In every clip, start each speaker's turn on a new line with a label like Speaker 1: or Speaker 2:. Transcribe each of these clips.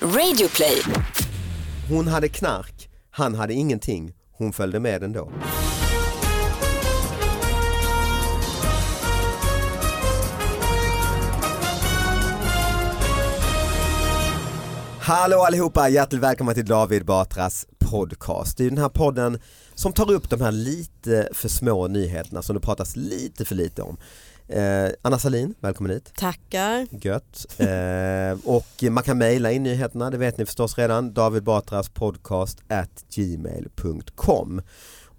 Speaker 1: Radioplay.
Speaker 2: Hon hade knark, han hade ingenting. Hon följde med ändå. Hallå allihopa, hjärtligt välkomna till David Batras podcast. Det är ju den här podden som tar upp de här lite för små nyheterna som det pratas lite för lite om. Eh, Anna Salin, välkommen hit.
Speaker 3: Tackar.
Speaker 2: Gött. Eh, och man kan mejla in nyheterna, det vet ni förstås redan. David Batras podcast at gmail.com.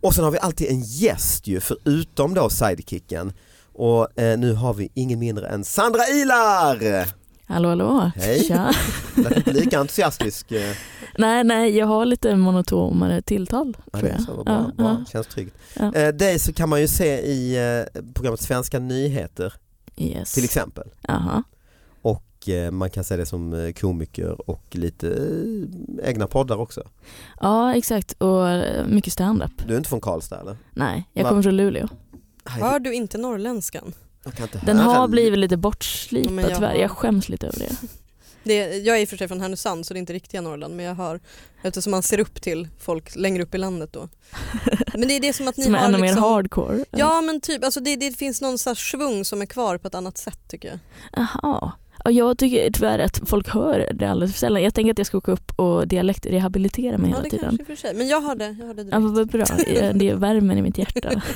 Speaker 2: Och sen har vi alltid en gäst ju, förutom då sidekicken. Och eh, nu har vi ingen mindre än Sandra Ilar!
Speaker 3: Hallå hallå.
Speaker 2: Hej.
Speaker 3: Tja.
Speaker 2: Lät inte lika entusiastisk. eh,
Speaker 3: Nej, nej, jag har lite monotomare tilltal.
Speaker 2: Ja,
Speaker 3: tror
Speaker 2: det är
Speaker 3: jag.
Speaker 2: så, vad bra,
Speaker 3: Ja,
Speaker 2: bra.
Speaker 3: ja.
Speaker 2: Känns tryggt.
Speaker 3: Ja.
Speaker 2: Eh, dig så kan man ju se i eh, programmet Svenska nyheter
Speaker 3: Yes.
Speaker 2: till exempel.
Speaker 3: Jaha.
Speaker 2: Och eh, man kan se det som eh, komiker och lite eh, egna poddar också.
Speaker 3: Ja, exakt. Och eh, mycket stand-up.
Speaker 2: Du är inte från Karlstad eller?
Speaker 3: Nej, jag
Speaker 2: Va?
Speaker 3: kommer från Luleå.
Speaker 2: Aj,
Speaker 4: Hör du inte norrländskan?
Speaker 2: jag kan inte
Speaker 3: Den
Speaker 2: höra
Speaker 3: har
Speaker 2: li-
Speaker 3: blivit lite
Speaker 4: Ja,
Speaker 3: bortslipad
Speaker 4: men jag
Speaker 3: tyvärr.
Speaker 4: har-
Speaker 3: Jag skäms lite över det.
Speaker 4: Det, jag är i och för sig från Härnösand så det är inte riktiga Norrland men jag hör eftersom man ser upp till folk längre upp i landet då. Men det är det som att ni
Speaker 3: Som är
Speaker 4: har
Speaker 3: ännu mer
Speaker 4: liksom,
Speaker 3: hardcore.
Speaker 4: Ja men typ, alltså det, det finns någon så här svung som är kvar på ett annat sätt tycker jag.
Speaker 3: Jaha. Ja, jag tycker tyvärr att folk hör det alldeles för sällan. Jag tänker att jag ska åka upp och dialektrehabilitera mig
Speaker 4: Ja
Speaker 3: hela
Speaker 4: det
Speaker 3: tiden.
Speaker 4: kanske i och för sig, men jag hörde, jag hörde
Speaker 3: Ja,
Speaker 4: direkt.
Speaker 3: vad vad bra. Ja, Det är värmen i mitt hjärta.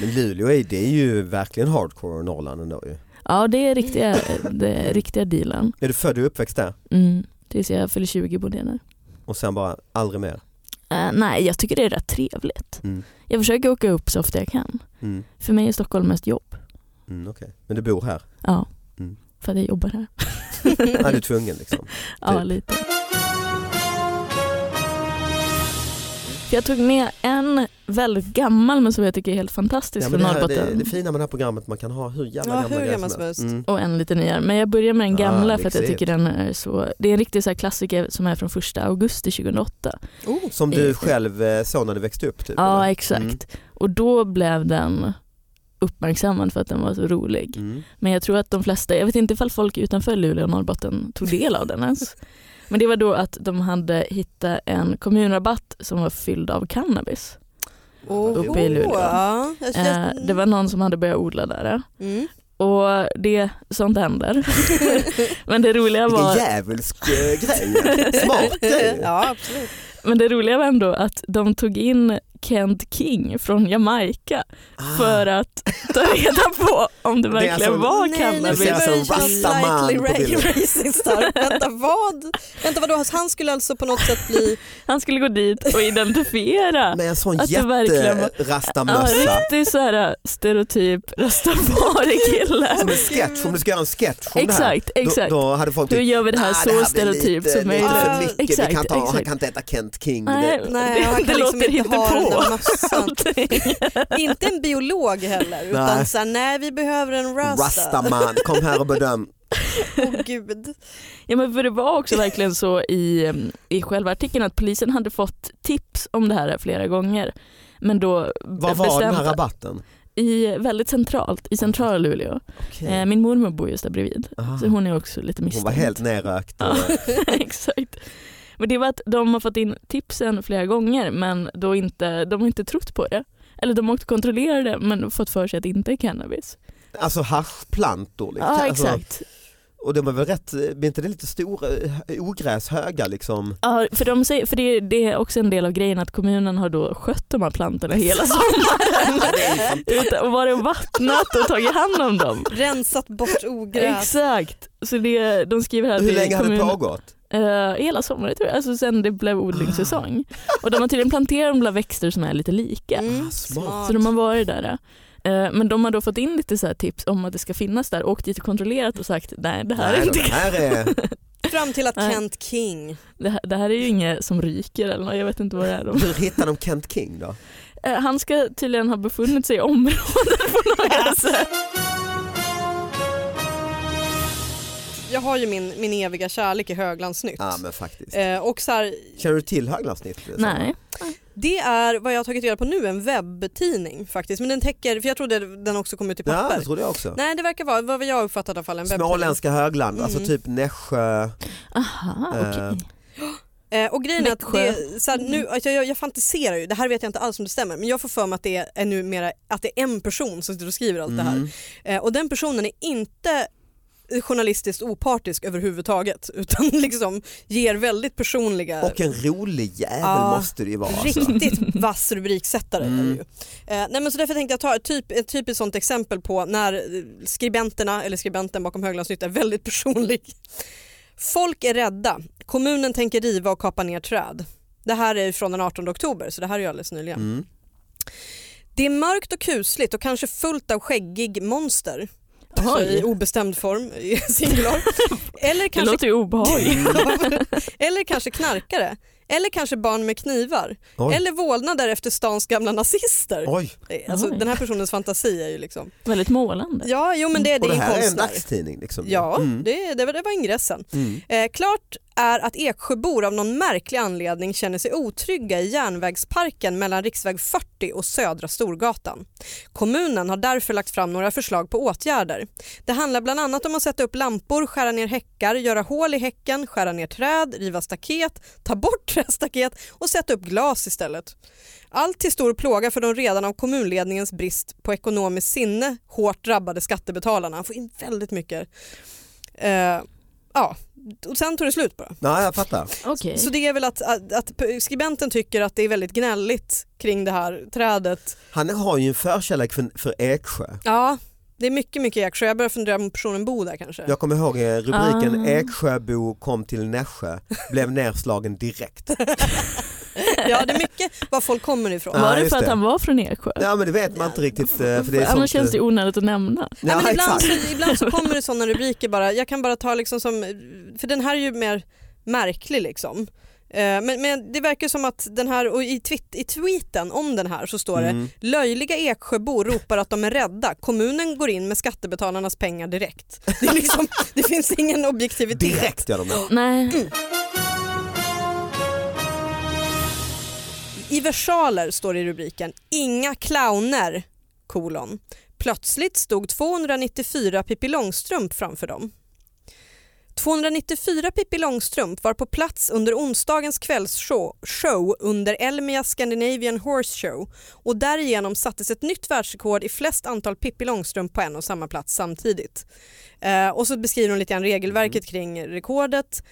Speaker 2: Men Luleå är, det är ju verkligen hardcore och Norrland ändå ju.
Speaker 3: Ja, det är riktiga, det är riktiga dealen.
Speaker 2: Är du född och uppväxt där
Speaker 3: Mm. Tills jag fyller 20 bodde jag där.
Speaker 2: och sen bara aldrig mer?
Speaker 3: Eh, nej, jag tycker det är rätt trevligt.
Speaker 2: Mm.
Speaker 3: Jag försöker åka upp så ofta jag kan.
Speaker 2: Mm,
Speaker 3: För mig är Stockholm mest jobb.
Speaker 2: mm, okej. Men du bor här?
Speaker 3: Ja,
Speaker 2: Mm.
Speaker 3: för att jag jobbar här.
Speaker 2: Ja, du är tvungen liksom?
Speaker 3: Ja,
Speaker 2: Typ.
Speaker 3: lite. För jag tog med en väldigt gammal men som jag tycker är helt fantastisk
Speaker 2: Ja, men
Speaker 3: från
Speaker 2: det, här, det,
Speaker 3: Norrbotten.
Speaker 2: det fina med det här programmet, man kan ha hur jävla
Speaker 4: Ja,
Speaker 2: gamla
Speaker 4: hur
Speaker 2: grejer
Speaker 4: gammal som helst.
Speaker 2: Mm.
Speaker 3: Och en lite nyare. Men jag börjar med den
Speaker 2: Ah,
Speaker 3: gamla för att jag
Speaker 2: lyxigt.
Speaker 3: tycker den är så... Det är en riktig så här klassiker som är från 1 augusti 2008.
Speaker 4: Oh,
Speaker 2: Som du
Speaker 3: Eh,
Speaker 2: själv eh, såg när du växte upp? Typ,
Speaker 3: Ja,
Speaker 2: eller?
Speaker 3: exakt.
Speaker 2: Mm.
Speaker 3: Och då blev den uppmärksammad för att den var så rolig.
Speaker 2: Mm.
Speaker 3: Men jag tror att de flesta, jag vet inte ifall folk utanför Luleå och Norrbotten tog del av den ens. Men det var då att de hade hittat en kommunrabatt som var fylld av cannabis. Uppe i Luleå.
Speaker 4: Ja, jag
Speaker 3: Eh,
Speaker 4: känner-
Speaker 3: det var någon som hade börjat odla där.
Speaker 4: mm.
Speaker 3: Och det, sånt händer. men, det roliga
Speaker 2: Vilken
Speaker 3: var,
Speaker 2: djävulsk eh, grej! Smart grej!
Speaker 4: Ja absolut.
Speaker 3: men det roliga var ändå att de tog in Kent King från Jamaica för att ta reda på om det
Speaker 2: Ah. Det är
Speaker 3: verkligen
Speaker 2: alltså-
Speaker 3: var
Speaker 4: Nej,
Speaker 2: nu
Speaker 3: cannabis.
Speaker 2: ser jag
Speaker 4: börjar
Speaker 2: som
Speaker 4: det kännas
Speaker 2: Rastaman
Speaker 4: slightly
Speaker 2: på bilden.
Speaker 4: ra- racist här. Vänta vad? Vänta vadå, han skulle alltså på något sätt bli
Speaker 3: Han skulle gå dit och identifiera.
Speaker 2: Ah, Med en sån
Speaker 3: Att det verkligen var- Ja,
Speaker 2: jätterastamössa.
Speaker 3: riktig så här äh, stereotyp rastafari-kille.
Speaker 2: Som en sketch, om du ska göra en sketch om det här.
Speaker 3: Exakt, exakt.
Speaker 2: Då, då hade folk
Speaker 3: Hur gör vi det här
Speaker 2: "Nej,
Speaker 3: så
Speaker 2: blir
Speaker 3: stereotypt
Speaker 2: lite,
Speaker 3: som
Speaker 2: Lite
Speaker 3: möjligt?
Speaker 2: för
Speaker 4: Ja,
Speaker 2: mycket. vi
Speaker 3: exakt,
Speaker 2: kan ta, han
Speaker 3: exakt.
Speaker 2: kan inte äta Kent King.
Speaker 3: Nej,
Speaker 2: det,
Speaker 4: Nej,
Speaker 3: det,
Speaker 4: han
Speaker 3: det
Speaker 4: kan liksom
Speaker 3: låter
Speaker 4: inte
Speaker 3: inte
Speaker 4: ha den
Speaker 3: på.
Speaker 4: där massan.
Speaker 3: någonting.
Speaker 4: Inte en biolog heller utan
Speaker 2: Nej.
Speaker 4: nej. såhär, nej vi behöver en rasta.
Speaker 2: Rastaman, kom här och bedöm.
Speaker 4: Åh gud.
Speaker 3: Ja, men för det var också verkligen så i, em, i själva artikeln att polisen hade fått tips om det här flera gånger. Men då
Speaker 2: Vad var den här rabatten?
Speaker 3: i väldigt centralt, i centrala Luleå. Eh, Min mormor bor just där bredvid,
Speaker 2: Aha.
Speaker 3: så hon är också lite
Speaker 2: Hon
Speaker 3: misstänkt.
Speaker 2: var Ah. helt nerökt. och-
Speaker 3: Exakt. Men det var att de har fått in tipsen flera gånger men då inte, de har inte trott på det. Eller de har åkt och kontrollerat det men fått för sig att det inte är cannabis.
Speaker 2: Alltså haschplantor.
Speaker 3: Ja
Speaker 2: Liksom. Alltså,
Speaker 3: exakt.
Speaker 2: och de är väl rätt, eh, blir inte det lite stora eh, ogräshöga liksom?
Speaker 3: Ja, för de säger, för det, det är också en del av grejen att kommunen har då skött de här plantorna hela sommaren. Utan, och varit och vattnat och tagit hand om dem.
Speaker 4: Rensat bort ogräs.
Speaker 3: Exakt. Så det, de skriver här att
Speaker 2: Hur
Speaker 3: det är
Speaker 2: länge har det
Speaker 3: kommun-
Speaker 2: pågått?
Speaker 3: Eh, hela sommaren tror jag, alltså sen det blev odlingssäsong. Och de har tydligen planterat de där växter som är lite lika.
Speaker 4: Mm,
Speaker 2: Ah, smart.
Speaker 3: Så de har varit där. eh, Men de har då fått in lite så här tips om att det ska finnas där, åkt dit och kontrollerat och sagt nej det här,
Speaker 2: Nej,
Speaker 3: är,
Speaker 2: de
Speaker 3: inte,
Speaker 2: här är,
Speaker 4: Fram till att
Speaker 3: Nej.
Speaker 4: Kent King.
Speaker 3: det, här, det här är ju inget som ryker eller något, jag vet inte vad det är. De.
Speaker 2: hur hittar de Kent King då?
Speaker 3: Eh, Han ska tydligen ha befunnit sig i området på något sätt.
Speaker 4: Jag har ju min, min eviga kärlek i Höglandsnytt.
Speaker 2: Ja men faktiskt.
Speaker 4: Eh, och så här,
Speaker 2: liksom? Känner du till Höglandssnittet?
Speaker 3: Nej.
Speaker 4: Det är vad jag har tagit reda på nu en webbtidning faktiskt. Men den täcker, för jag trodde den också kom ut i
Speaker 2: Ja,
Speaker 4: papper.
Speaker 2: det trodde jag också.
Speaker 4: Nej det verkar vara vad jag uppfattat i alla fall en webbtidning.
Speaker 2: Småländska högland, alltså
Speaker 4: Mm.
Speaker 2: typ Nässjö.
Speaker 3: Aha, okej.
Speaker 2: Eh,
Speaker 4: Eh, och grejen är att
Speaker 3: Växjö.
Speaker 4: det, så här, nu, alltså, jag, jag fantiserar ju, det här vet jag inte alls om det stämmer men jag får för mig att det är, är numera, att det är en person som sitter och skriver allt det här.
Speaker 2: Mm.
Speaker 4: Eh, och den personen är inte journalistiskt opartisk överhuvudtaget utan liksom ger väldigt personliga
Speaker 2: Och en rolig jävel
Speaker 4: Mm. Ja,
Speaker 2: måste det ju vara. Alltså.
Speaker 4: Riktigt vass rubriksättare är det
Speaker 2: Mm.
Speaker 4: ju. Eh, nej men så därför tänkte jag ta ett, typ, ett typiskt sånt exempel på när eh, skribenterna eller skribenten bakom Höglands Nytt är väldigt personlig. Folk är rädda. Kommunen tänker riva och kapa ner träd. Det här är från den 18 oktober så det här är ju alldeles nyligen.
Speaker 2: Mm.
Speaker 4: Det är mörkt och kusligt och kanske fullt av skäggig monster. Så I
Speaker 3: Oj,
Speaker 4: obestämd form, i singular. Eller
Speaker 3: det
Speaker 4: kanske
Speaker 3: låter ju obehagligt.
Speaker 4: eller kanske knarkare. Eller kanske barn med knivar.
Speaker 2: Oj.
Speaker 4: Eller vålnader efter stans gamla nazister.
Speaker 2: Oj,
Speaker 4: Eh, Alltså,
Speaker 3: Oj.
Speaker 4: den här personens fantasi är ju liksom...
Speaker 3: Väldigt målande.
Speaker 4: Ja, jo men det, det
Speaker 2: Mm. och det
Speaker 4: är en
Speaker 2: här är en
Speaker 4: konstnär.
Speaker 2: dagstidning liksom.
Speaker 4: Ja,
Speaker 2: Mm.
Speaker 4: det, det, var, det var ingressen.
Speaker 2: Mm.
Speaker 4: Eh, klart är att Eksjöbor av någon märklig anledning känner sig otrygga i järnvägsparken mellan riksväg 40 och Södra Storgatan. Kommunen har därför lagt fram några förslag på åtgärder. Det handlar bland annat om att sätta upp lampor, skära ner häckar, göra hål i häcken, skära ner träd, riva staket, ta bort trästaket och sätta upp glas istället. Allt till stor plåga för de redan av kommunledningens brist på ekonomiskt sinne hårt drabbade skattebetalarna. Han får in väldigt mycket. Eh, ja, och sen tog det slut bara.
Speaker 2: Nej, jag fattar.
Speaker 3: Okej.
Speaker 4: Så det är väl att, att, att skribenten tycker att det är väldigt gnälligt kring det här trädet.
Speaker 2: Han har ju en förkärlek för, för Eksjö.
Speaker 4: Ja, det är mycket, mycket Eksjö. Jag börjar fundera om personen bor där kanske.
Speaker 2: Jag kommer ihåg eh, rubriken
Speaker 3: Ah.
Speaker 2: Eksjöbo kom till Nässjö, blev nerslagen direkt.
Speaker 4: Ja, det är mycket var folk kommer ifrån.
Speaker 2: Ja,
Speaker 3: Var det
Speaker 2: just
Speaker 3: för att
Speaker 2: det.
Speaker 3: han var från Eksjö?
Speaker 2: Ja men det vet man inte riktigt. eh, För det är
Speaker 3: Annars
Speaker 2: sånt,
Speaker 3: känns det
Speaker 2: eh,
Speaker 3: ju onödigt att nämna.
Speaker 4: Nej,
Speaker 2: Ja,
Speaker 4: men ibland,
Speaker 2: exakt.
Speaker 4: så, ibland så kommer det sådana rubriker bara. Jag kan bara ta liksom som, för den här är ju mer märklig liksom. Eh, Men, men det verkar som att den här, och i, tweet, i tweeten om den här så står det
Speaker 2: Mm.
Speaker 4: Löjliga Eksjöbor ropar att de är rädda. Kommunen går in med skattebetalarnas pengar direkt. Det, är liksom, det finns ingen objektivitet.
Speaker 2: Direkt gör de det.
Speaker 3: Nej,
Speaker 4: I versaler står det i rubriken Inga clowner, kolon. Plötsligt stod 294 Pippi Långstrump framför dem. 294 Pippi Långstrump var på plats under onsdagens kvällsshow show under Elmia Scandinavian Horse Show och därigenom sattes ett nytt världsrekord i flest antal Pippi Långstrump på en och samma plats samtidigt. Eh, och så beskriver hon lite grann regelverket kring rekordet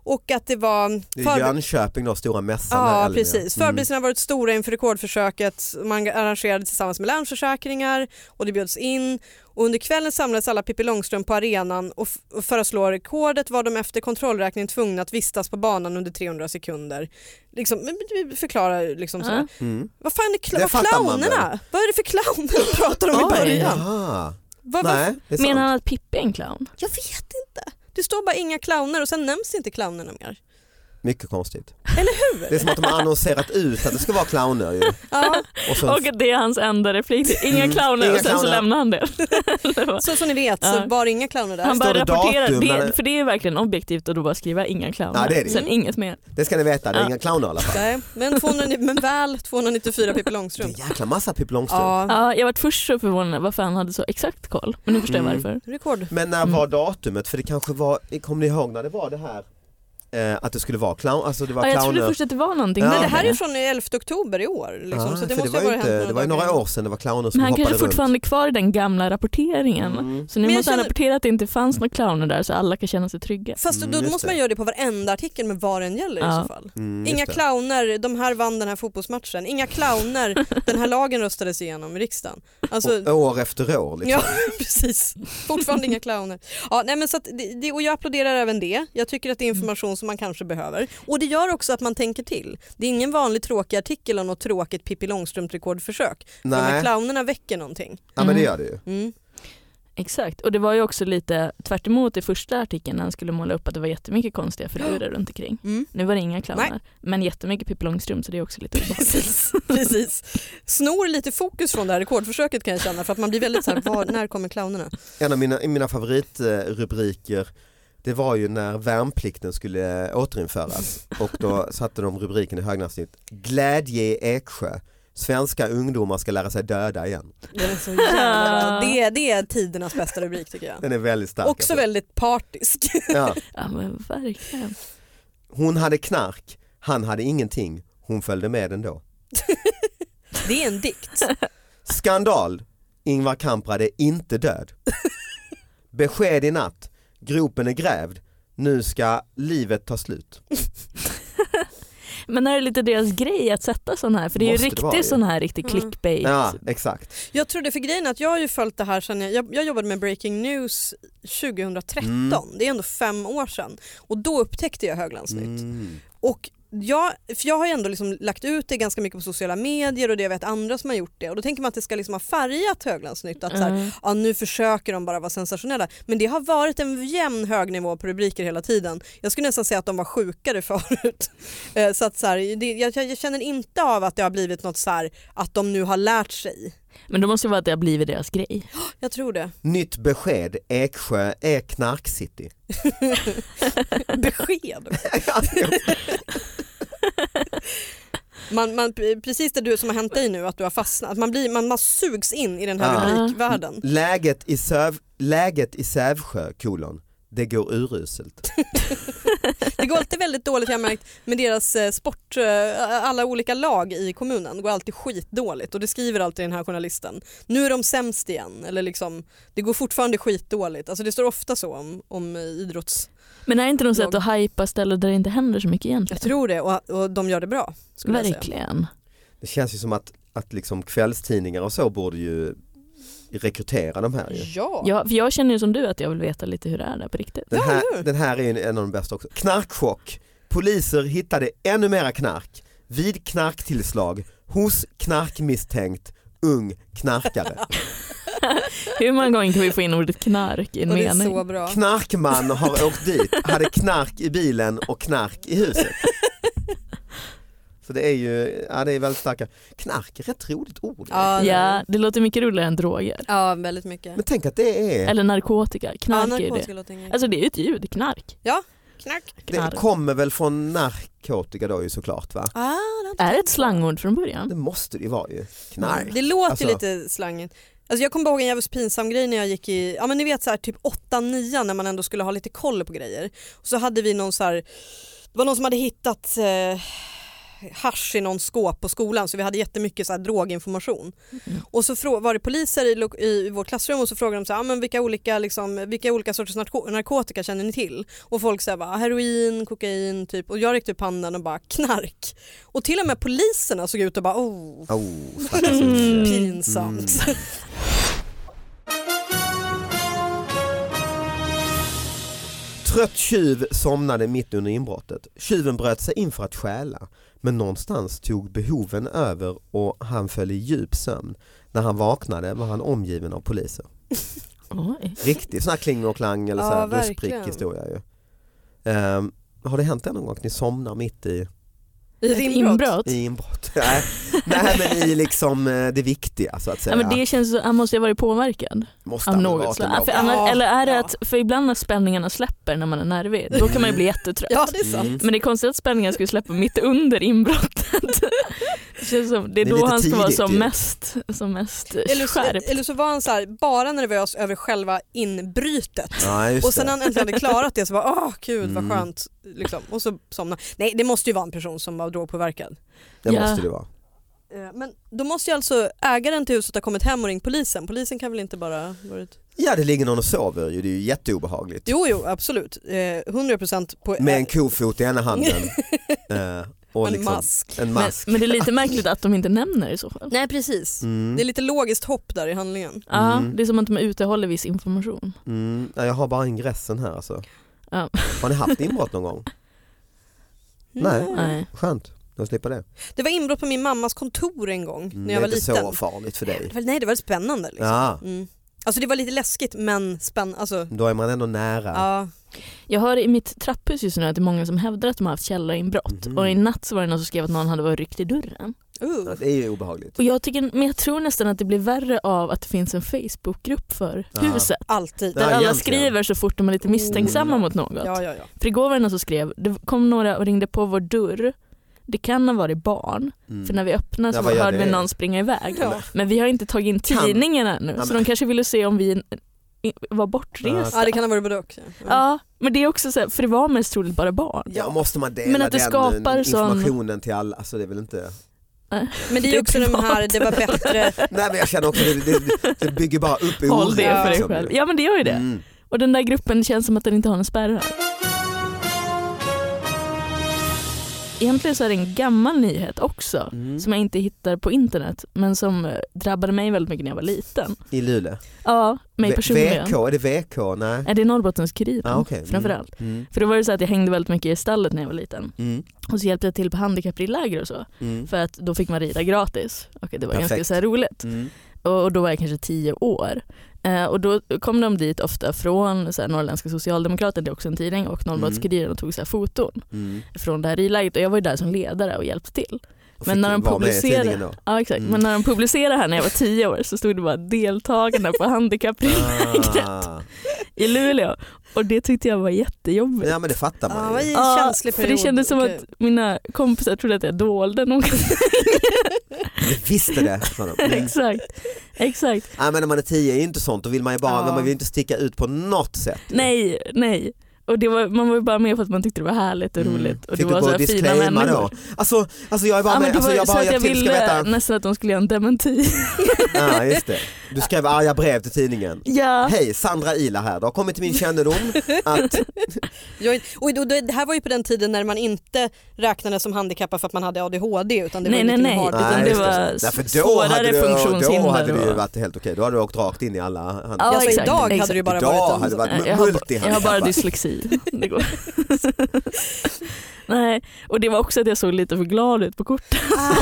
Speaker 4: och att det var...
Speaker 2: Det är
Speaker 4: förbe-
Speaker 2: Jönköping då, stora mässan. där i
Speaker 4: Ja,
Speaker 2: Elmia.
Speaker 4: precis. Förberedelserna har varit stora inför rekordförsöket. Man arrangerade tillsammans med Länsförsäkringar och det bjöds in. Och under kvällen samlades alla Pippi Långstrump på arenan och, f- och för att slå rekordet var de efter kontrollräkning tvungna att vistas på banan under 300 sekunder. Liksom, men vi förklarar liksom sådär.
Speaker 3: Ja.
Speaker 2: Mm.
Speaker 4: Vad fan är cl-
Speaker 2: Det
Speaker 4: vad
Speaker 2: fattar man
Speaker 4: clownerna? Vad är det för clowner du pratar om i
Speaker 3: Oj.
Speaker 4: början?
Speaker 2: Jaha,
Speaker 4: Vad, vad,
Speaker 2: nej det är
Speaker 3: menar
Speaker 2: sant.
Speaker 3: han att Pippi är en clown?
Speaker 4: jag vet inte. Det står bara inga clowner och sen nämns inte clownerna mer.
Speaker 2: Mycket konstigt.
Speaker 4: Eller hur?
Speaker 2: Det är som att de har annonserat ut att det ska vara clowner ju.
Speaker 4: Ja.
Speaker 2: Och sen
Speaker 3: Och att det är hans enda replik. Det är Inga
Speaker 2: Mm.
Speaker 3: clowner
Speaker 2: Inga
Speaker 3: och sen så
Speaker 2: clowner.
Speaker 3: lämnar han det. Eller vad?
Speaker 4: Så som ni vet så
Speaker 3: Ja.
Speaker 4: var det inga clowner där.
Speaker 3: Han
Speaker 2: Står
Speaker 3: bara
Speaker 2: det
Speaker 3: rapporterar,
Speaker 2: datum, eller?
Speaker 3: det, för det är verkligen objektivt att då bara skriva inga clowner.
Speaker 2: Ja, det är det.
Speaker 3: Sen inget mer.
Speaker 2: Det ska ni veta, det är
Speaker 3: Ja.
Speaker 2: inga clowner i alla fall.
Speaker 4: Nej, men, 200, men väl 294 Pippi
Speaker 2: Det är en
Speaker 4: Långstrump.
Speaker 2: jäkla massa Pippi Långstrump.
Speaker 4: Ja,
Speaker 3: Ja, jag var först så förvånad varför han hade så exakt koll, men nu förstår jag
Speaker 2: Mm.
Speaker 3: varför.
Speaker 4: rekord.
Speaker 2: Men när var datumet? För det kanske var, kommer ni ihåg när det var det här? Eh, att det skulle vara clown, alltså det var
Speaker 3: Ja, jag
Speaker 2: clowner.
Speaker 3: trodde först att det var någonting
Speaker 2: Ja.
Speaker 4: Nej,
Speaker 3: med
Speaker 4: det här är ju från 11 oktober i år. Liksom,
Speaker 2: Ah,
Speaker 4: så det
Speaker 2: för
Speaker 4: måste
Speaker 2: var
Speaker 4: ju
Speaker 2: ju
Speaker 4: ha
Speaker 2: inte,
Speaker 4: hänt
Speaker 2: det var ju några
Speaker 4: dagar.
Speaker 2: år sedan det var clowner som
Speaker 3: Men han
Speaker 2: hoppade
Speaker 3: kanske
Speaker 2: runt.
Speaker 3: fortfarande är kvar i den gamla rapporteringen.
Speaker 2: Mm.
Speaker 3: Så nu
Speaker 4: Men jag
Speaker 3: måste han
Speaker 4: känner-
Speaker 3: rapportera att det inte fanns några clowner där så alla kan känna sig trygga.
Speaker 4: Fast
Speaker 2: Mm,
Speaker 4: då
Speaker 2: just
Speaker 4: måste
Speaker 2: det.
Speaker 4: man göra det på varenda artikel med vad den gäller i
Speaker 3: Ja.
Speaker 4: så fall.
Speaker 2: Mm, just
Speaker 4: Inga
Speaker 2: det.
Speaker 4: clowner, de här vann den här fotbollsmatchen. Inga clowner, den här lagen röstades igenom i riksdagen. Alltså,
Speaker 2: Och År efter år liksom.
Speaker 4: Ja precis, fortfarande inga clowner. Ja, nej, men så att det, det, och jag applåderar även det. Jag tycker
Speaker 2: Mm.
Speaker 4: att det är information som man kanske behöver. Och det gör också att man tänker till. Det är ingen vanlig tråkig artikel om något tråkigt Pippi Långstrump-rekordförsök. För De här
Speaker 2: Nej,
Speaker 4: clownerna väcker någonting.
Speaker 2: ja, men det gör det ju.
Speaker 4: Mm.
Speaker 3: Exakt, och det var ju också lite tvärt emot i första artikeln när han skulle måla upp att det var jättemycket konstiga figurer runt omkring.
Speaker 4: Mm.
Speaker 3: Nu var det inga clowner,
Speaker 4: Nej.
Speaker 3: men jättemycket Pippi Långstrump så det är också lite obehagligt.
Speaker 4: Precis, precis. Snor lite fokus från det här rekordförsöket kan jag känna för att man blir väldigt så här, var, när kommer clownerna?
Speaker 2: En av mina, mina favoritrubriker, det var ju när värnplikten skulle eh, återinföras och då satte de rubriken i högnadsnitt Glädje i Eksjö Svenska ungdomar ska lära sig döda igen.
Speaker 4: Den är så jävla, det, det är tidernas bästa rubrik tycker jag.
Speaker 2: Den är väldigt stark. alltså.
Speaker 4: Också väldigt partisk.
Speaker 2: Ja.
Speaker 3: Ja men verkligen.
Speaker 2: Hon hade knark, han hade ingenting, hon följde med ändå.
Speaker 4: Det är en dikt.
Speaker 2: Skandal, Ingvar Kamprad är inte död. Besked i natt, gropen är grävd, nu ska livet ta slut.
Speaker 3: Men är det lite deras grej att sätta sån här? För det är
Speaker 2: Måste
Speaker 3: ju
Speaker 2: det vara ju.
Speaker 3: riktigt sån här riktig
Speaker 4: Mm.
Speaker 3: clickbait.
Speaker 2: Ja, exakt.
Speaker 4: Jag trodde för grejen är att jag har ju följt det här sedan jag, jag, jag jobbade med Breaking News 2013. Det är ändå fem år sedan. Och då upptäckte jag Höglandsnytt.
Speaker 2: Mm.
Speaker 4: Och jag, för jag har ju ändå liksom lagt ut det ganska mycket på sociala medier och det jag vet andra som har gjort det. Och då tänker man att det ska liksom ha färgat Höglandsnytt. Att så här,
Speaker 3: Mm.
Speaker 4: ja, nu försöker de bara vara sensationella. Men det har varit en jämn hög nivå på rubriker hela tiden. Jag skulle nästan säga att de var sjukare förut. Eh, så att så här, det, jag, jag känner inte av att det har blivit något så här, att de nu har lärt sig.
Speaker 3: Men då måste det vara att det har blivit deras grej.
Speaker 4: Jag tror det.
Speaker 2: Nytt besked, Eksjö är knarkcity.
Speaker 4: Besked. Man, man, precis det du som har hänt dig nu, att du har fastnat. Man, blir, man, man sugs in i den här
Speaker 2: Ah.
Speaker 4: rubrikvärlden.
Speaker 2: läget, i Söv, läget i Sävsjö, kolon, det går uruselt.
Speaker 4: Det går alltid väldigt dåligt jag har märkt med deras eh, sport, eh, alla olika lag i kommunen. Det går alltid skitdåligt och det skriver alltid den här journalisten. Nu är de sämst igen eller liksom, det går fortfarande skitdåligt. Alltså det står ofta så om, om eh, idrotts...
Speaker 3: Men är det inte något sätt att hypa ställen där det inte händer så mycket
Speaker 4: Jag
Speaker 3: egentligen?
Speaker 4: tror det och, och de gör det bra. Skulle jag säga.
Speaker 3: Verkligen.
Speaker 2: Det känns ju som att, att liksom kvällstidningar och så borde ju rekrytera de här ju.
Speaker 4: Ja.
Speaker 3: Ja, för jag känner ju som du att jag vill veta lite hur det är där på riktigt.
Speaker 2: Den
Speaker 4: eller
Speaker 2: här,
Speaker 4: hur?
Speaker 2: den här är ju en av de bästa också. Knarkchock. Poliser hittade ännu mera knark vid knarktillslag hos knarkmisstänkt ung knarkare.
Speaker 3: Hur många gånger kan vi få in ordet knark i en
Speaker 4: Och det är
Speaker 3: mening?
Speaker 4: så bra.
Speaker 2: Knarkman har åkt dit, hade knark i bilen och knark i huset. Så det är ju, ja det är väldigt starka. Knark är ett roligt ord.
Speaker 4: Ja,
Speaker 3: Ja, det låter mycket roligare än droger.
Speaker 4: ja, väldigt mycket.
Speaker 2: Men tänk att det är,
Speaker 3: Eller narkotika,
Speaker 4: Ja,
Speaker 3: knark är ju det.
Speaker 4: narkotika låter inget.
Speaker 3: Alltså det är ju ett ljud, knark.
Speaker 4: Knark.
Speaker 2: det
Speaker 3: knark.
Speaker 2: kommer väl från narkotika då ju såklart va?
Speaker 4: Ah, det har inte
Speaker 3: Är det
Speaker 4: tänkt
Speaker 3: ett
Speaker 4: på.
Speaker 3: slangord från början?
Speaker 2: Det måste det ju vara ju. Knark.
Speaker 4: Mm, Det låter
Speaker 2: Alltså-
Speaker 4: ju lite slangigt. Alltså jag kommer ihåg en jävligt pinsam grej när jag gick i, ja men ni vet så här, typ 8-9 när man ändå skulle ha lite koll på grejer. Och så hade vi någon så här, det var någon som hade hittat eh, hasch i någon skåp på skolan så vi hade jättemycket så här droginformation. Och så frå- var det poliser i, lo- i vårt klassrum och så frågade de så här, ah, men vilka, olika, liksom, vilka olika sorters narko- narkotika känner ni till? Och folk sa bara heroin, kokain typ och jag räckte upp handen och bara knark. Och till och med poliserna såg ut och bara oh
Speaker 2: Oh, stackars
Speaker 4: Mm.
Speaker 2: unge.
Speaker 4: pinsamt.
Speaker 2: Trött tjuv somnade mitt under inbrottet. Tjuven bröt sig in för att stjäla. Men någonstans tog behoven över och han föll i djup sömn. När han vaknade var han omgiven av poliser.
Speaker 3: Oj.
Speaker 2: Riktig sån här kling och klang eller så
Speaker 4: Ja,
Speaker 2: här
Speaker 4: verkligen.
Speaker 2: ruskprick historia ju. Ehm, har det hänt det någon gång att ni somnar mitt i,
Speaker 4: I
Speaker 3: Ett inbrott?
Speaker 2: i inbrott? Nej. Nej men i liksom eh, det viktiga så att säga.
Speaker 3: Ja, men det känns så, han måste ju ha varit påverkad
Speaker 2: Måste
Speaker 3: av
Speaker 2: han väl
Speaker 3: något
Speaker 2: varit
Speaker 3: slag.
Speaker 2: ändå.
Speaker 3: För annars,
Speaker 4: Ja,
Speaker 3: eller är det
Speaker 4: ja.
Speaker 3: att, för ibland när spänningarna släpper när man är nervig, då kan man ju bli jättetrött.
Speaker 4: Ja det är sant.
Speaker 2: Mm.
Speaker 3: Men det är konstigt att spänningen skulle släppa mitt under inbrottet. Det, känns som, det är
Speaker 2: Det är
Speaker 3: då
Speaker 2: lite
Speaker 3: han ska vara
Speaker 2: tidigt
Speaker 3: som
Speaker 2: ju.
Speaker 3: mest, som mest
Speaker 4: Eller, så,
Speaker 3: skärpt.
Speaker 4: eller så var han så här, bara nervös över själva inbrytet.
Speaker 2: Ja, just
Speaker 4: Och sen när
Speaker 2: det.
Speaker 4: han äntligen hade klarat det så var åh gud vad
Speaker 2: Mm.
Speaker 4: skönt. Liksom. Och så somnade Nej det måste ju vara en person som var drogpåverkad.
Speaker 2: det
Speaker 3: Ja.
Speaker 2: måste det vara.
Speaker 4: Eh, Men då måste ju alltså ägaren till huset ha kommit hem och ringt polisen. Polisen kan väl inte bara varit...
Speaker 2: Ja det ligger någon och sover ju, det är ju jätteobehagligt.
Speaker 4: Jo jo absolut. Eh, 100% på
Speaker 2: med
Speaker 4: eh,
Speaker 2: en kofot i ena handen. eh, och
Speaker 4: en
Speaker 2: liksom,
Speaker 4: mask.
Speaker 2: En
Speaker 3: Men,
Speaker 2: mask.
Speaker 3: men det är lite märkligt att de inte nämner det i så fall.
Speaker 4: Nej precis.
Speaker 2: Mm,
Speaker 4: Det är lite logiskt hopp där i handlingen.
Speaker 3: Ja,
Speaker 2: Mm.
Speaker 3: Det är som att de utehåller viss information.
Speaker 2: mm, nej, jag har bara ingressen här alltså.
Speaker 3: Ja.
Speaker 2: Har ni haft inbrott någon gång? Nej.
Speaker 4: Mm.
Speaker 3: Nej.
Speaker 2: Skönt, då slipper det.
Speaker 4: Det var inbrott på min mammas kontor en gång
Speaker 2: Mm,
Speaker 4: när jag var
Speaker 2: det är inte
Speaker 4: liten.
Speaker 2: så farligt för dig.
Speaker 4: Det var, nej det var spännande. Liksom.
Speaker 2: Ja,
Speaker 4: Mm. Alltså det var lite läskigt men spännande. Alltså,
Speaker 2: då är man ändå nära.
Speaker 4: ja.
Speaker 3: Jag hör i mitt trapphus just nu att det är många som hävdar att de har haft källarinbrott
Speaker 2: Mhm.
Speaker 3: och i natt så var det någon som skrev att någon hade varit ryckt i dörren.
Speaker 4: Uh.
Speaker 2: Det är ju obehagligt.
Speaker 3: Och jag, tycker, men jag tror nästan att det blir värre av att det finns en Facebookgrupp för
Speaker 2: Ja.
Speaker 3: huset.
Speaker 4: Alltid.
Speaker 2: Ja,
Speaker 3: Där alla
Speaker 2: egentligen.
Speaker 3: skriver så fort de är lite misstänksamma
Speaker 2: Oh, ja.
Speaker 3: mot något.
Speaker 4: Ja, ja, ja.
Speaker 3: För igår var det någon som skrev, det kom några och ringde på vår dörr. Det kan ha varit barn,
Speaker 2: Mm.
Speaker 3: för när vi öppnade så
Speaker 2: Ja, vad gör
Speaker 3: hörde vi
Speaker 2: det?
Speaker 3: någon springa iväg.
Speaker 4: Ja.
Speaker 3: Men vi har inte tagit in
Speaker 2: Kan-
Speaker 3: tidningen ännu
Speaker 2: Ja,
Speaker 3: så
Speaker 2: men-
Speaker 3: de kanske ville se om vi i- var bortresta.
Speaker 4: ja, det kan ha varit både och. Ja.
Speaker 3: Ja, men det är också så här, för det var mest troligt bara barn.
Speaker 2: Ja, måste man dela
Speaker 3: Men att det
Speaker 2: den
Speaker 3: skapar sån-
Speaker 2: informationen till alla? Alltså det är väl inte...
Speaker 4: Men Mm. det är ju också den här, det var bättre
Speaker 2: Nej men jag känner också det, det, det bygger bara upp oro.
Speaker 3: Håll det för dig
Speaker 2: liksom.
Speaker 3: själv. Ja men det gör ju det.
Speaker 2: Mm.
Speaker 3: Och den där gruppen känns som att den inte har någon spärrar. Egentligen så är det en gammal nyhet också
Speaker 2: Mm.
Speaker 3: som jag inte hittar på internet men som eh, drabbade mig väldigt mycket när jag var liten.
Speaker 2: I Luleå?
Speaker 3: Ja, mig
Speaker 2: V-
Speaker 3: personligen.
Speaker 2: VK, är det VK? Nej.
Speaker 3: Nej, det är Norrbottens-Kuriren
Speaker 2: Ah, okej. Mm.
Speaker 3: framförallt.
Speaker 2: Mm.
Speaker 3: För då var det så att jag hängde väldigt mycket i stallet när jag var liten.
Speaker 2: Mm.
Speaker 3: Och så hjälpte jag till på handikappridläger och så.
Speaker 2: Mm.
Speaker 3: För att då fick man rida gratis. Och det var ganska
Speaker 2: Perfekt.
Speaker 3: så här roligt.
Speaker 2: Mm.
Speaker 3: Och, och då var jag kanske tio år. Eh, och då kom de dit ofta från så här, Norrländska Socialdemokraten, det är också en tidning, och Norrbottens-Kuriren och tog så här, foton
Speaker 2: Mm.
Speaker 3: från det här ridlägret. Och jag var ju där som ledare och hjälpte till.
Speaker 2: Och
Speaker 3: Men
Speaker 2: fick
Speaker 3: när de
Speaker 2: vara med i
Speaker 3: publicerar-
Speaker 2: tidningen då?
Speaker 3: Ja, exakt.
Speaker 2: Mm.
Speaker 3: Men när de publicerade här när jag var tio år så stod det bara deltagarna på handikappridlägret
Speaker 2: Ah.
Speaker 3: i Luleå. Och det tyckte jag var jättejobbigt.
Speaker 2: Ja men det fattar
Speaker 4: Ja,
Speaker 2: man
Speaker 4: vad
Speaker 2: ju.
Speaker 4: i
Speaker 3: Ja,
Speaker 4: känslig
Speaker 3: för
Speaker 4: period.
Speaker 3: det kändes som
Speaker 4: Okej.
Speaker 3: att mina kompisar trodde att jag dolde något.
Speaker 2: Jag visste det. sa de. Mm.
Speaker 3: exakt. exakt.
Speaker 2: Ja, men när man är tio är ju inte sånt, då vill man ju bara,
Speaker 4: Ja.
Speaker 2: men man vill ju inte sticka ut på något sätt.
Speaker 3: Nej, nej. Och det var, man var ju bara med för att man tyckte det var härligt och
Speaker 2: Mm.
Speaker 3: roligt. Och
Speaker 2: Fick
Speaker 3: det
Speaker 2: du
Speaker 3: var
Speaker 2: gå
Speaker 3: så
Speaker 2: och
Speaker 3: här fina
Speaker 2: disclaima
Speaker 3: människor.
Speaker 2: då? Alltså, alltså jag är bara
Speaker 3: Ja, men
Speaker 2: med,
Speaker 3: det
Speaker 2: alltså
Speaker 3: var
Speaker 2: jag
Speaker 3: så
Speaker 2: bara
Speaker 3: att jag
Speaker 2: hjälpt till, ska
Speaker 3: ville
Speaker 2: veta.
Speaker 3: nästan att de skulle göra en dementi.
Speaker 2: Ja, just det. Du skrev arga brev till tidningen.
Speaker 3: ja.
Speaker 2: Hej, Sandra Ila här. Det har kommit till min kännedom att
Speaker 4: Jag, och då, det här var ju på den tiden när man inte räknades som handikappad för att man hade ADHD utan det
Speaker 3: Nej,
Speaker 4: var
Speaker 3: nej,
Speaker 4: en liten
Speaker 3: nej.
Speaker 4: hard-
Speaker 3: Utan
Speaker 2: Nej,
Speaker 3: det
Speaker 2: just
Speaker 3: var
Speaker 2: Nej, för då
Speaker 3: svårare
Speaker 2: hade, du, då
Speaker 3: funktionshinder.
Speaker 2: hade det ju
Speaker 3: va?
Speaker 2: varit helt okej, då hade du åkt rakt in i alla handikapp.
Speaker 3: Ja,
Speaker 4: alltså,
Speaker 3: exakt,
Speaker 4: idag hade
Speaker 3: exakt.
Speaker 4: det ju bara
Speaker 2: Idag
Speaker 4: varit
Speaker 2: hade det varit-
Speaker 3: Nej, jag, har, ba- jag har bara
Speaker 2: multihandikappad.
Speaker 3: dyslexi. Det går. nej, och det var också att jag såg lite för glad ut på kortet.
Speaker 4: Aj,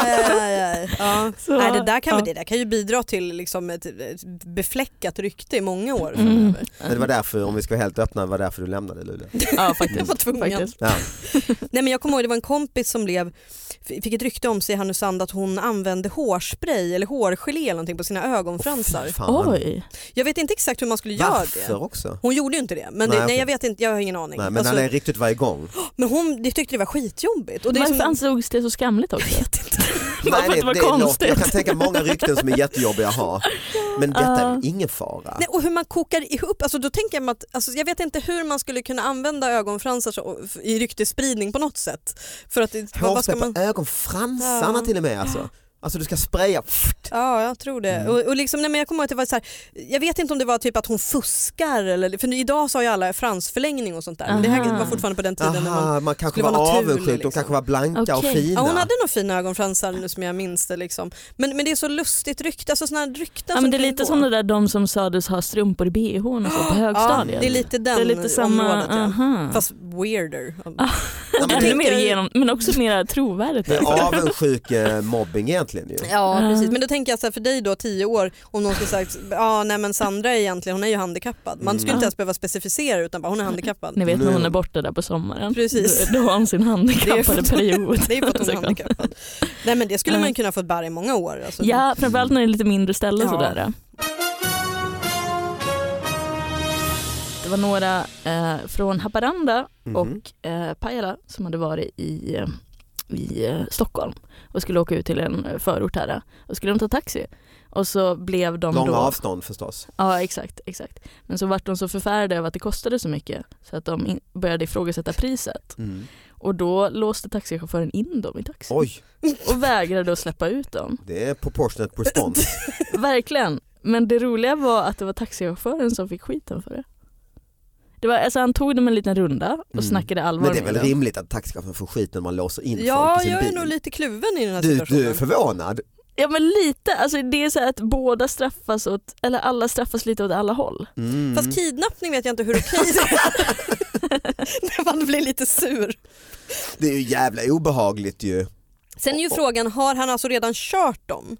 Speaker 4: aj, aj. Ah, Ja.
Speaker 3: Så-
Speaker 4: Nej, det, där kan, väl-
Speaker 3: ja.
Speaker 4: det där kan ju bidra till liksom ett, ett befläckat rykte i många år
Speaker 3: Mm.
Speaker 4: framöver.
Speaker 2: Men det var därför, om vi ska vara helt öppna, det var därför du lämnade Luleå.
Speaker 3: Ja,
Speaker 4: Jag
Speaker 3: faktiskt.
Speaker 4: var tvungen.
Speaker 3: faktiskt.
Speaker 2: Ja.
Speaker 4: Nej, men jag kommer ihåg det var en kompis som blev, fick ett rykte om sig i Härnösand att hon använde hårspray eller hårgelé eller någonting på sina ögonfransar.
Speaker 2: Fy fan.
Speaker 3: Oj.
Speaker 4: Jag vet inte exakt hur man skulle göra
Speaker 2: Varför
Speaker 4: det.
Speaker 2: också?
Speaker 4: Hon gjorde ju inte det, men det,
Speaker 2: Nej,
Speaker 4: nej,
Speaker 2: okej.
Speaker 4: jag vet inte, jag har ingen aning.
Speaker 2: Nej, men
Speaker 4: Alltså,
Speaker 2: alla är riktigt varje gång.
Speaker 4: men hon det tyckte det var skitjobbigt. Och det är
Speaker 3: Varför
Speaker 4: som-
Speaker 3: ansågs det så skamligt också? Bara för
Speaker 2: Nej,
Speaker 3: att det var
Speaker 2: är lågt.
Speaker 3: konstigt.
Speaker 2: Jag kan tänka många rykten som är jättejobbiga att ha. Men detta är
Speaker 3: Ja.
Speaker 2: ingen fara.
Speaker 4: Nej, och hur man kokar ihop, alltså då tänker jag mig att, alltså jag vet inte hur man skulle kunna använda ögonfransar så, i ryktesspridning på något sätt. För att, det- vad, vad ska
Speaker 2: Hårspray
Speaker 4: man...
Speaker 2: på ögonfransarna
Speaker 4: Ja.
Speaker 2: till och med alltså. Alltså du ska spraya.
Speaker 4: Ja, jag tror det.
Speaker 2: Mm.
Speaker 4: Och, och liksom, nej, men jag kommer ihåg att det var så här, jag vet inte om det var typ att hon fuskar, eller, för idag så har ju alla fransförlängning och sånt där. Men det här
Speaker 3: Aha.
Speaker 4: var fortfarande på den tiden när man
Speaker 2: Aha, man kanske
Speaker 4: skulle
Speaker 2: var
Speaker 4: vara naturlig,
Speaker 2: avundsjuk, de
Speaker 4: liksom.
Speaker 2: kanske var blanka och
Speaker 3: Okej.
Speaker 2: fina.
Speaker 4: Ja, hon hade nog fina ögonfransar nu som jag minns det. Liksom. Men, men det är så lustigt rykte, alltså sådana här rykten
Speaker 3: Ja, men det är
Speaker 4: kan
Speaker 3: lite
Speaker 4: gå.
Speaker 3: som det där de som sades ha strumpor i bhn och så på högstadiet.
Speaker 4: Ja, det är lite den
Speaker 3: det är lite samma,
Speaker 4: området. Ja.
Speaker 3: aha. Ah.
Speaker 4: Fast weirder.
Speaker 2: Ja, men
Speaker 3: Ännu
Speaker 2: det-
Speaker 3: mer
Speaker 4: tänker-
Speaker 3: genom, men också mer trovärdigt.
Speaker 2: det är avundsjuk eh, mobbing egentligen ju.
Speaker 4: Ja
Speaker 3: Ja.
Speaker 4: precis, men då tänker jag så här, för dig då tio år om någon skulle sagt ja nej men Sandra är egentligen, hon är ju handikappad. Man skulle
Speaker 3: Mm.
Speaker 4: inte ens behöva specificera utan bara hon är handikappad.
Speaker 3: Ni vet när
Speaker 2: Mm.
Speaker 3: hon är borta där på sommaren.
Speaker 4: Precis.
Speaker 3: Då, då har hon sin handikappade
Speaker 4: Det är-
Speaker 3: period.
Speaker 4: Det är ju för att hon är
Speaker 3: Såklart.
Speaker 4: handikappad. Nej men det skulle
Speaker 3: Ja.
Speaker 4: man ju kunna få bära i många år. Alltså.
Speaker 3: Ja, framförallt när det är lite mindre ställen
Speaker 4: Ja.
Speaker 3: sådär. Det var några eh, från Haparanda
Speaker 2: Mhm.
Speaker 3: och eh, Pajala som hade varit i, eh, i eh, Stockholm och skulle åka ut till en eh, förort här. eh, Och skulle de ta taxi. Och så blev de
Speaker 2: Långa
Speaker 3: då...
Speaker 2: avstånd förstås.
Speaker 3: Ja exakt, exakt. Men så vart de så förfärade över att det kostade så mycket så att de in- började ifrågasätta priset.
Speaker 2: Mm.
Speaker 3: Och då låste taxichauffören in dem i taxin
Speaker 2: Oj,
Speaker 3: och vägrade att släppa ut dem.
Speaker 2: det är proportionate response.
Speaker 3: Verkligen. Men det roliga var att det var taxichauffören som fick skiten för det. det var, alltså han tog dem en liten runda och
Speaker 2: Mm.
Speaker 3: snackade allvar
Speaker 2: Men det är
Speaker 3: med
Speaker 2: väl
Speaker 3: dem.
Speaker 2: rimligt att taxichauffören får skit när man låser in
Speaker 4: Ja,
Speaker 2: folk i sin
Speaker 4: jag är
Speaker 2: bil?
Speaker 4: nog lite kluven i den här
Speaker 2: du,
Speaker 4: situationen.
Speaker 2: du är förvånad?
Speaker 3: Ja men lite, alltså det är så här att båda straffas åt, eller alla straffas lite åt alla håll.
Speaker 2: Mm.
Speaker 4: Fast kidnappning vet jag inte hur okej det är. När man blir lite sur.
Speaker 2: Det är ju jävla obehagligt ju.
Speaker 4: Sen är ju frågan, har han alltså redan kört dem?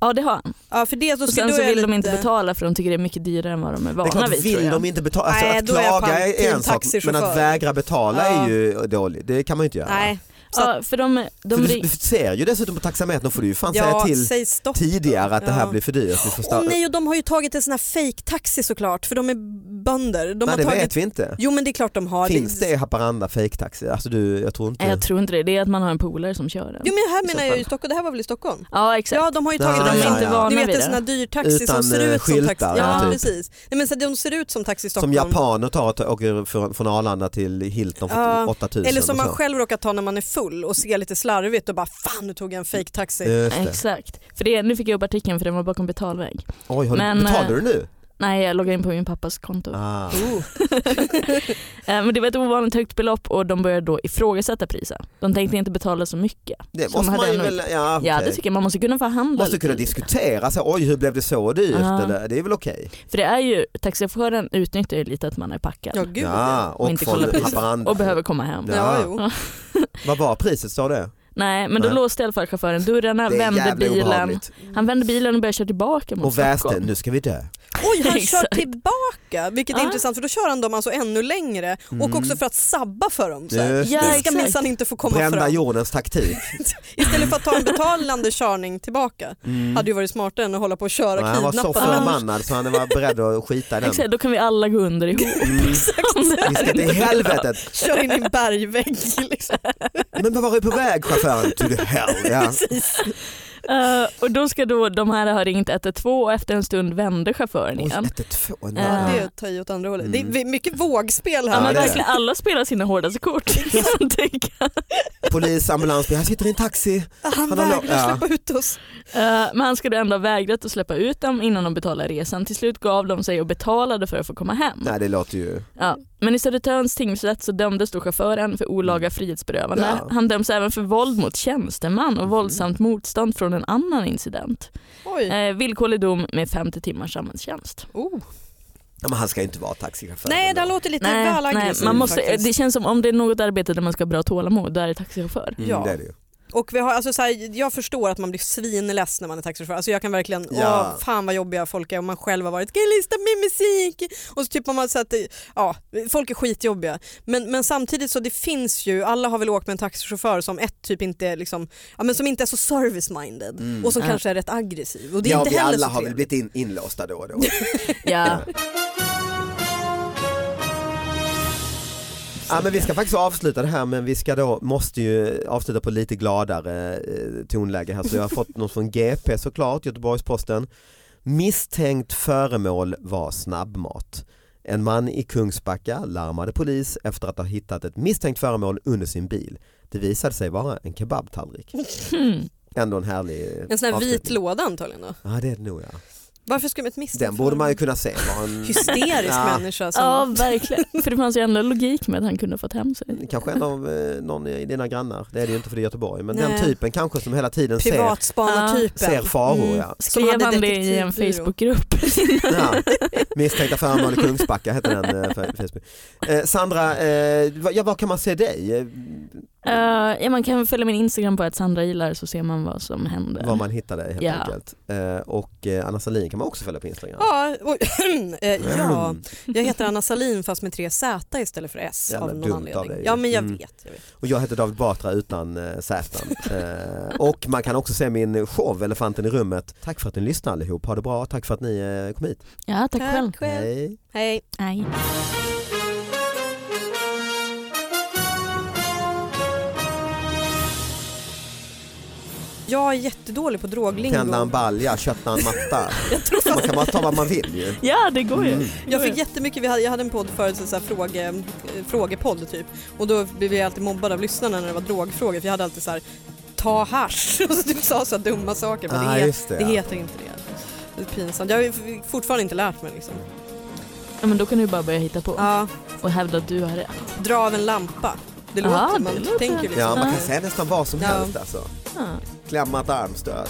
Speaker 3: Ja det har han.
Speaker 4: Ja, för det, så,
Speaker 3: Och sen
Speaker 4: då
Speaker 3: så
Speaker 4: är jag
Speaker 3: vill de
Speaker 4: lite-
Speaker 3: inte betala för de tycker det är mycket dyrare än vad de är
Speaker 2: Det är
Speaker 3: vana
Speaker 2: klart,
Speaker 3: vid tror
Speaker 2: vill
Speaker 3: jag.
Speaker 2: de inte betala, alltså,
Speaker 4: Nej,
Speaker 2: att
Speaker 4: då är jag
Speaker 2: klaga
Speaker 4: fan
Speaker 2: är
Speaker 4: till
Speaker 2: en sak men
Speaker 4: taxichaufför.
Speaker 2: att vägra betala
Speaker 4: Ja.
Speaker 2: är ju dåligt, det kan man ju inte göra.
Speaker 4: Nej, Så
Speaker 3: Ja, för de, de
Speaker 2: för du,
Speaker 3: ring-
Speaker 2: du ser ju dessutom på taxametern får du ju fan
Speaker 4: ja,
Speaker 2: säga till
Speaker 4: säg stopp.
Speaker 2: tidigare att det här
Speaker 4: Ja.
Speaker 2: blir för dyrt. Vi får
Speaker 4: Åh
Speaker 2: sta-
Speaker 4: nej, och de har ju tagit en sån här fake-taxi såklart för de är bönder. De
Speaker 2: Nej,
Speaker 4: har
Speaker 2: det
Speaker 4: tagit...
Speaker 2: vet vi inte.
Speaker 4: Jo men det är klart de har.
Speaker 2: Finns det i Haparanda fejktaxi? Alltså du, jag tror inte.
Speaker 3: Nej, jag tror inte det. Det är att man har en polare som kör den.
Speaker 4: Jo men här
Speaker 3: I så
Speaker 4: menar jag ju
Speaker 3: fall.
Speaker 4: Stockholm, det här var väl i Stockholm?
Speaker 3: Ja exakt.
Speaker 4: Ja de har ju
Speaker 2: Ja,
Speaker 4: tagit
Speaker 2: ja,
Speaker 4: en
Speaker 2: ja,
Speaker 4: inte
Speaker 2: ja.
Speaker 4: Du
Speaker 3: vana
Speaker 4: vet
Speaker 3: vid
Speaker 4: en
Speaker 3: det.
Speaker 4: sån här dyrtaxi som
Speaker 2: Utan,
Speaker 4: ser
Speaker 2: eh,
Speaker 4: ut som taxi.
Speaker 2: skyltar,
Speaker 3: ja,
Speaker 4: Ja,
Speaker 3: typ.
Speaker 4: precis. Nej, men så de ser ut som taxi i
Speaker 2: Som
Speaker 4: Stockholm.
Speaker 2: japaner tar och åker från, från Arlanda till Hilton för
Speaker 4: Ja,
Speaker 2: 8000.
Speaker 4: Eller som
Speaker 2: och
Speaker 4: man
Speaker 2: så.
Speaker 4: själv råkar ta när man är full och ser lite slarvigt och bara fan nu tog jag en fake taxi.
Speaker 2: Just det.
Speaker 3: Exakt. För det, nu fick jag upp artikeln för den var bakom betalväg.
Speaker 2: Oj, har
Speaker 3: Men,
Speaker 2: du, betalar
Speaker 3: eh,
Speaker 2: du nu?
Speaker 3: Nej jag loggade in på min pappas konto.
Speaker 2: Ah.
Speaker 4: Oh.
Speaker 3: Eh, Men det var ett ovanligt högt belopp och de började då ifrågasätta priset. De tänkte inte betala så mycket.
Speaker 2: Det
Speaker 3: Som
Speaker 2: måste man
Speaker 3: hade
Speaker 2: ju
Speaker 3: en-
Speaker 2: väl, ja,
Speaker 3: Ja
Speaker 2: Ah, okej.
Speaker 3: det tycker jag, man måste kunna förhandla.
Speaker 2: Måste
Speaker 3: lite.
Speaker 2: kunna diskutera, så, här, oj hur blev det så dyrt?
Speaker 3: Ja.
Speaker 2: Eller, det är väl okej?
Speaker 3: För det är ju, taxichauffören utnyttjar ju lite att man är packad
Speaker 4: Ja gud
Speaker 2: Ja,
Speaker 4: ja.
Speaker 2: och
Speaker 3: inte kolla
Speaker 2: från
Speaker 3: priset.
Speaker 2: Haparanda.
Speaker 3: och behöver komma hem.
Speaker 2: Ja.
Speaker 4: Ja, jo.
Speaker 2: Vad var priset sa du?
Speaker 3: Nej men då
Speaker 2: Nej.
Speaker 3: låste i alla fall chauffören dörrarna,
Speaker 2: Det är
Speaker 3: vände
Speaker 2: jävla
Speaker 3: bilen.
Speaker 2: obehagligt.
Speaker 3: Han vände bilen och började köra tillbaka mot
Speaker 2: Och väste,
Speaker 3: Stockholm.
Speaker 2: nu ska vi dö.
Speaker 4: Oj, han kör
Speaker 3: Exakt.
Speaker 4: tillbaka, vilket är
Speaker 3: Ja.
Speaker 4: intressant för då kör han dem alltså ännu längre och också för att sabba för dem. Så här.
Speaker 2: Just
Speaker 3: Ja,
Speaker 4: Ni
Speaker 2: det.
Speaker 4: ska
Speaker 3: exakt.
Speaker 4: minsann inte få komma
Speaker 2: Brända
Speaker 4: fram.
Speaker 2: jordens taktik.
Speaker 4: Istället för att ta en betalande körning tillbaka hade ju varit smartare än att hålla på och köra
Speaker 2: Nej, Mm. han var så
Speaker 4: kidnappa dem.
Speaker 2: förbannad så han var beredd att skita i den. Mm.
Speaker 3: Exakt, då kan vi alla gå under ihop. Om det
Speaker 2: Vi
Speaker 3: här
Speaker 2: ska
Speaker 3: inte
Speaker 2: till
Speaker 3: är bra.
Speaker 2: helvetet.
Speaker 4: Kör in i en bergvägg. Liksom.
Speaker 2: Men vad var du på väg chauffören? To the hell. Ja.
Speaker 3: Eh, och då ska då de här ha ringt 112 och efter en stund vände chauffören
Speaker 2: Oj,
Speaker 3: igen.
Speaker 2: 112. ändå.
Speaker 3: Ja.
Speaker 4: Det är att ta i åt andra hållet. Det är mycket vågspel
Speaker 3: Ja, men
Speaker 4: här.
Speaker 2: Mm. det är
Speaker 3: verkligen, alla spelar sina hårdaste kort. Liksom, kan man tänka.
Speaker 2: Polis, ambulans, här sitter i en
Speaker 3: Mm.
Speaker 2: taxi.
Speaker 4: Han
Speaker 2: Han har lo-
Speaker 4: vägrar
Speaker 2: ja.
Speaker 4: släppa ut oss.
Speaker 3: Eh, men han skulle ändå ha vägrat att släppa ut dem innan de betalade resan. Till slut gav de sig och betalade för att få komma hem.
Speaker 2: Nej det låter ju...
Speaker 3: Ja. Men i Södertörns tingsrätt så dömdes då chauffören för
Speaker 4: Mm.
Speaker 3: olaga frihetsberövande.
Speaker 2: Ja.
Speaker 3: Han döms även för våld mot tjänsteman
Speaker 4: Mm.
Speaker 3: och våldsamt motstånd från en annan incident.
Speaker 4: Oj.
Speaker 3: Eh, villkorlig dom med 50 timmars samhällstjänst.
Speaker 4: Oh.
Speaker 2: Ja, men han ska ju inte vara taxichaufför.
Speaker 4: Nej, det här
Speaker 2: ändå.
Speaker 4: låter lite väl aggressivt
Speaker 3: man måste, eh,
Speaker 4: faktiskt.
Speaker 3: det känns som om det är något arbete där man ska ha bra tålamod, då är det taxichaufför.
Speaker 2: Mm,
Speaker 4: Ja.
Speaker 2: det är det ju.
Speaker 4: Och vi har, alltså, så här, jag förstår att man blir svinless när man är taxichaufför. Alltså, jag kan verkligen,
Speaker 2: Ja.
Speaker 4: åh fan vad jobbiga folk är och man själv har varit, kan jag lista min musik? Och så typ har man så att, det- ja, folk är skitjobbiga. Men, men samtidigt så det finns ju, alla har väl åkt med en taxichaufför som ett typ inte är liksom, ja, men som inte är så service-minded och som
Speaker 3: Ja.
Speaker 4: kanske är rätt aggressiv. Och det är
Speaker 2: Mm. ja,
Speaker 4: inte
Speaker 2: vi
Speaker 4: heller
Speaker 2: alla
Speaker 4: så
Speaker 2: har väl
Speaker 4: trevligt.
Speaker 2: blivit in, inlåsta då och då.
Speaker 3: Ja.
Speaker 2: ja, men vi ska faktiskt avsluta det här men vi ska då, måste ju avsluta på lite gladare eh, tonläge här så jag har fått något från GP såklart, Göteborgs-Posten. Misstänkt föremål var snabbmat. En man i Kungsbacka larmade polis efter att ha hittat ett misstänkt föremål under sin bil. Det visade sig vara en kebabtallrik.
Speaker 3: Hmm.
Speaker 2: Ändå en härlig
Speaker 4: En sån här vit
Speaker 2: avslutning.
Speaker 4: låda antagligen då.
Speaker 2: Ja det är det nog ja.
Speaker 4: Varför skulle man ett misstänkt
Speaker 2: Den borde man ju
Speaker 4: föremål?
Speaker 2: kunna se. Var en...
Speaker 4: Hysterisk
Speaker 2: Ja.
Speaker 4: människa som
Speaker 3: ja, verkligen. För det fanns ju ändå logik med att han kunde ha fått hem sig.
Speaker 2: Kanske en av eh, någon i dina grannar, det är det ju inte för det är Göteborg, men den
Speaker 4: Nej.
Speaker 2: typen kanske som hela tiden ser,
Speaker 4: privatspanartypen.
Speaker 2: ser faror.
Speaker 4: Mm.
Speaker 2: Ja.
Speaker 4: Som hade
Speaker 3: Skrev han det i en
Speaker 4: detektivbyrå.
Speaker 3: Facebookgrupp?
Speaker 2: Ja. Misstänkta föremål i Kungsbacka hette den eh, för- Facebook. Eh, Sandra, eh, va- ja, var kan man se dig? Eh,
Speaker 3: Eh, ja, man kan följa min Instagram på att Sandra gillar så ser man vad som händer.
Speaker 2: Var man hittar dig helt
Speaker 3: Ja.
Speaker 2: enkelt. Eh, och eh, Anna Sahlin kan man också följa på Instagram.
Speaker 4: Ja, och, eh, ja,
Speaker 2: Mm.
Speaker 4: jag heter Anna Salin fast med tre Z istället för S
Speaker 2: Jävla
Speaker 4: av någon
Speaker 2: dumt av
Speaker 4: anledning.
Speaker 2: dig.
Speaker 4: ja men jag
Speaker 2: Mm.
Speaker 4: vet. Jag vet.
Speaker 2: Och jag heter David Batra utan eh, Z. Eh, och man kan också se min show Elefanten i rummet. Tack för att ni lyssnade allihop, ha det bra, tack för att ni eh, kom hit.
Speaker 3: Ja, tack själv.
Speaker 2: Hej.
Speaker 4: Hej.
Speaker 3: Nej.
Speaker 4: Jag är jättedålig på droglingo.
Speaker 2: Tända en balja, kötta en matta. Man kan bara ta vad man vill ju.
Speaker 3: Ja, det går ju.
Speaker 4: Jag fick jättemycket, vi hade, jag hade en podd förut, så här fråge, eh, frågepodd typ. Och då blev jag alltid mobbad av lyssnarna när det var drogfrågor för jag hade alltid så här ta hasch och så typ sa så här dumma saker. Bara,
Speaker 2: Ah,
Speaker 4: det,
Speaker 2: just det,
Speaker 4: det
Speaker 2: ja.
Speaker 4: heter inte det. Det är pinsamt. Jag har ju fortfarande inte lärt mig liksom.
Speaker 3: Ja, men då kan du bara börja hitta på
Speaker 4: Ja,
Speaker 3: och hävda att du har rätt.
Speaker 4: dra av en lampa. Det
Speaker 3: Ja,
Speaker 4: låter,
Speaker 3: det
Speaker 4: man
Speaker 3: låter-
Speaker 4: tänker liksom.
Speaker 2: Ja, man kan säga nästan vad som
Speaker 4: Ja.
Speaker 2: helst alltså.
Speaker 3: Ja.
Speaker 2: Klämma ett armstöd.